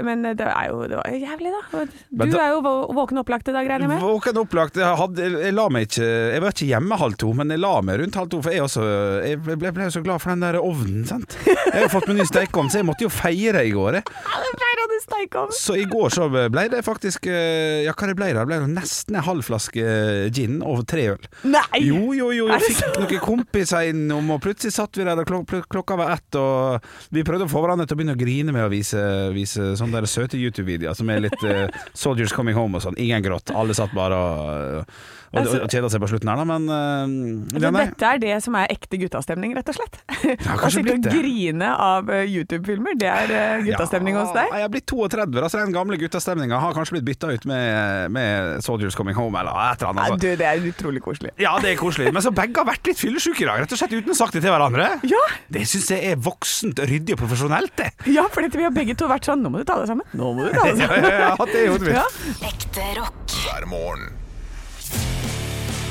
[SPEAKER 3] men det er jo det var jævlig, da.
[SPEAKER 4] Men
[SPEAKER 3] Du
[SPEAKER 4] da-
[SPEAKER 3] er jo vå- våken og opplagt, det da, regner jeg med?
[SPEAKER 4] Våken og opplagt. Jeg, hadde, jeg, la meg ikke, jeg var ikke hjemme halv to, men jeg la meg rundt halv to. For jeg, også, jeg ble, ble jo så glad for den der ovnen. sant? Jeg har jo fått meg ny stekeovn, så jeg måtte jo feire i går. jeg.
[SPEAKER 3] Ah, Det pleier han å steike om.
[SPEAKER 4] Så i går så ble det faktisk eh, Ja, hva det ble det? Det ble nesten en halv flaske eh, gin og tre øl.
[SPEAKER 3] Nei!
[SPEAKER 4] Jo, jo, jo.
[SPEAKER 3] Er
[SPEAKER 4] Jeg
[SPEAKER 3] det
[SPEAKER 4] fikk noen kompiser innom, og plutselig satt vi der, og klok klok- klokka var ett, og vi prøvde å få hverandre til å begynne å grine med å vise, vise sånne der søte YouTube-videoer som er litt eh, Soldiers Coming Home og sånn. Ingen gråt. Alle satt bare og, og, og, og kjeda seg på slutten her, da, men eh,
[SPEAKER 3] Så
[SPEAKER 4] ja, nei.
[SPEAKER 3] altså, dette er det som er ekte guttastemning, rett og slett. Å
[SPEAKER 4] kanskje
[SPEAKER 3] sitte og
[SPEAKER 4] blitt det.
[SPEAKER 3] grine av eh, YouTube-filmer, det er eh, guttastemning hos deg.
[SPEAKER 4] Ja, Altså. jeg er blitt 32, da, så den gamle guttastemninga har kanskje blitt bytta ut med, med Soldiers Coming Home eller et eller annet.
[SPEAKER 3] Nei,
[SPEAKER 4] altså.
[SPEAKER 3] du, det er utrolig koselig.
[SPEAKER 4] Ja, det er koselig. Men så begge har vært litt fyllesyke i dag, rett og slett uten å ha sagt det til hverandre.
[SPEAKER 3] Ja,
[SPEAKER 4] Det syns jeg er voksent, ryddig og profesjonelt, det.
[SPEAKER 3] ja for dette, vi har begge to vært sånn Nå må du ta deg sammen. Nå må du ta deg
[SPEAKER 4] Ja,
[SPEAKER 3] sammen.
[SPEAKER 4] ja, ja, det er hodet mitt.
[SPEAKER 3] Ja.
[SPEAKER 8] Ekte rock.
[SPEAKER 2] hver morgen.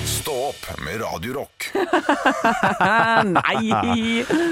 [SPEAKER 2] Stå opp med Radio Rock.
[SPEAKER 3] Eh, Nei!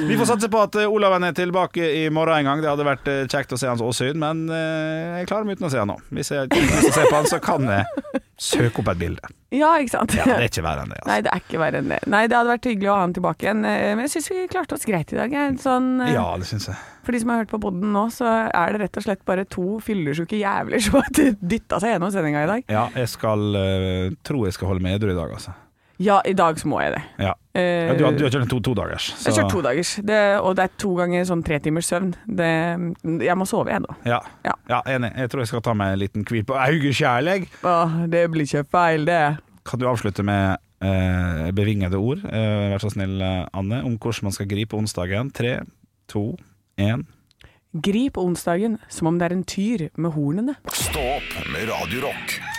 [SPEAKER 4] Vi får satse på at eh, Olaven er tilbake i morgen en gang. Det hadde vært eh, kjekt å se hans åsyn, men eh, jeg klarer meg uten å se han nå. Hvis jeg ikke ser på han, så kan jeg søke opp et bilde.
[SPEAKER 3] Ja, ikke sant?
[SPEAKER 4] Ja, det er ikke verre enn det.
[SPEAKER 3] Nei,
[SPEAKER 4] Altså.
[SPEAKER 3] det er ikke verre enn det. Nei, det hadde vært hyggelig å ha han tilbake igjen, eh, men jeg syns vi klarte oss greit i dag. jeg. Sånn, eh,
[SPEAKER 4] Ja, det syns jeg.
[SPEAKER 3] For de som har hørt på podden nå, så er det rett og slett bare to fyllesyke jævler som har dytta seg gjennom sendinga i dag.
[SPEAKER 4] Ja, jeg skal eh, tro jeg skal holde meg edru i dag, altså.
[SPEAKER 3] Ja, i dag så må jeg det.
[SPEAKER 4] Ja.
[SPEAKER 3] Eh,
[SPEAKER 4] Ja, du, har- du har kjørt en to, to dagers.
[SPEAKER 3] Jeg kjører to dagers, det, og det er to ganger sånn tre timers søvn. Det, jeg må sove, jeg, da.
[SPEAKER 4] Ja.
[SPEAKER 3] Ja.
[SPEAKER 4] ja, enig. Jeg tror jeg skal ta meg en liten hvil på Auge Kjærleg.
[SPEAKER 3] Åh, det blir ikke feil, det.
[SPEAKER 4] Kan du avslutte med eh, bevingede ord, eh, vær så snill, eh, Anne, om hvordan man skal gripe onsdagen? Tre, to, én.
[SPEAKER 3] Grip onsdagen som om det er en tyr med hornene.
[SPEAKER 2] Stå opp med Radio Rock.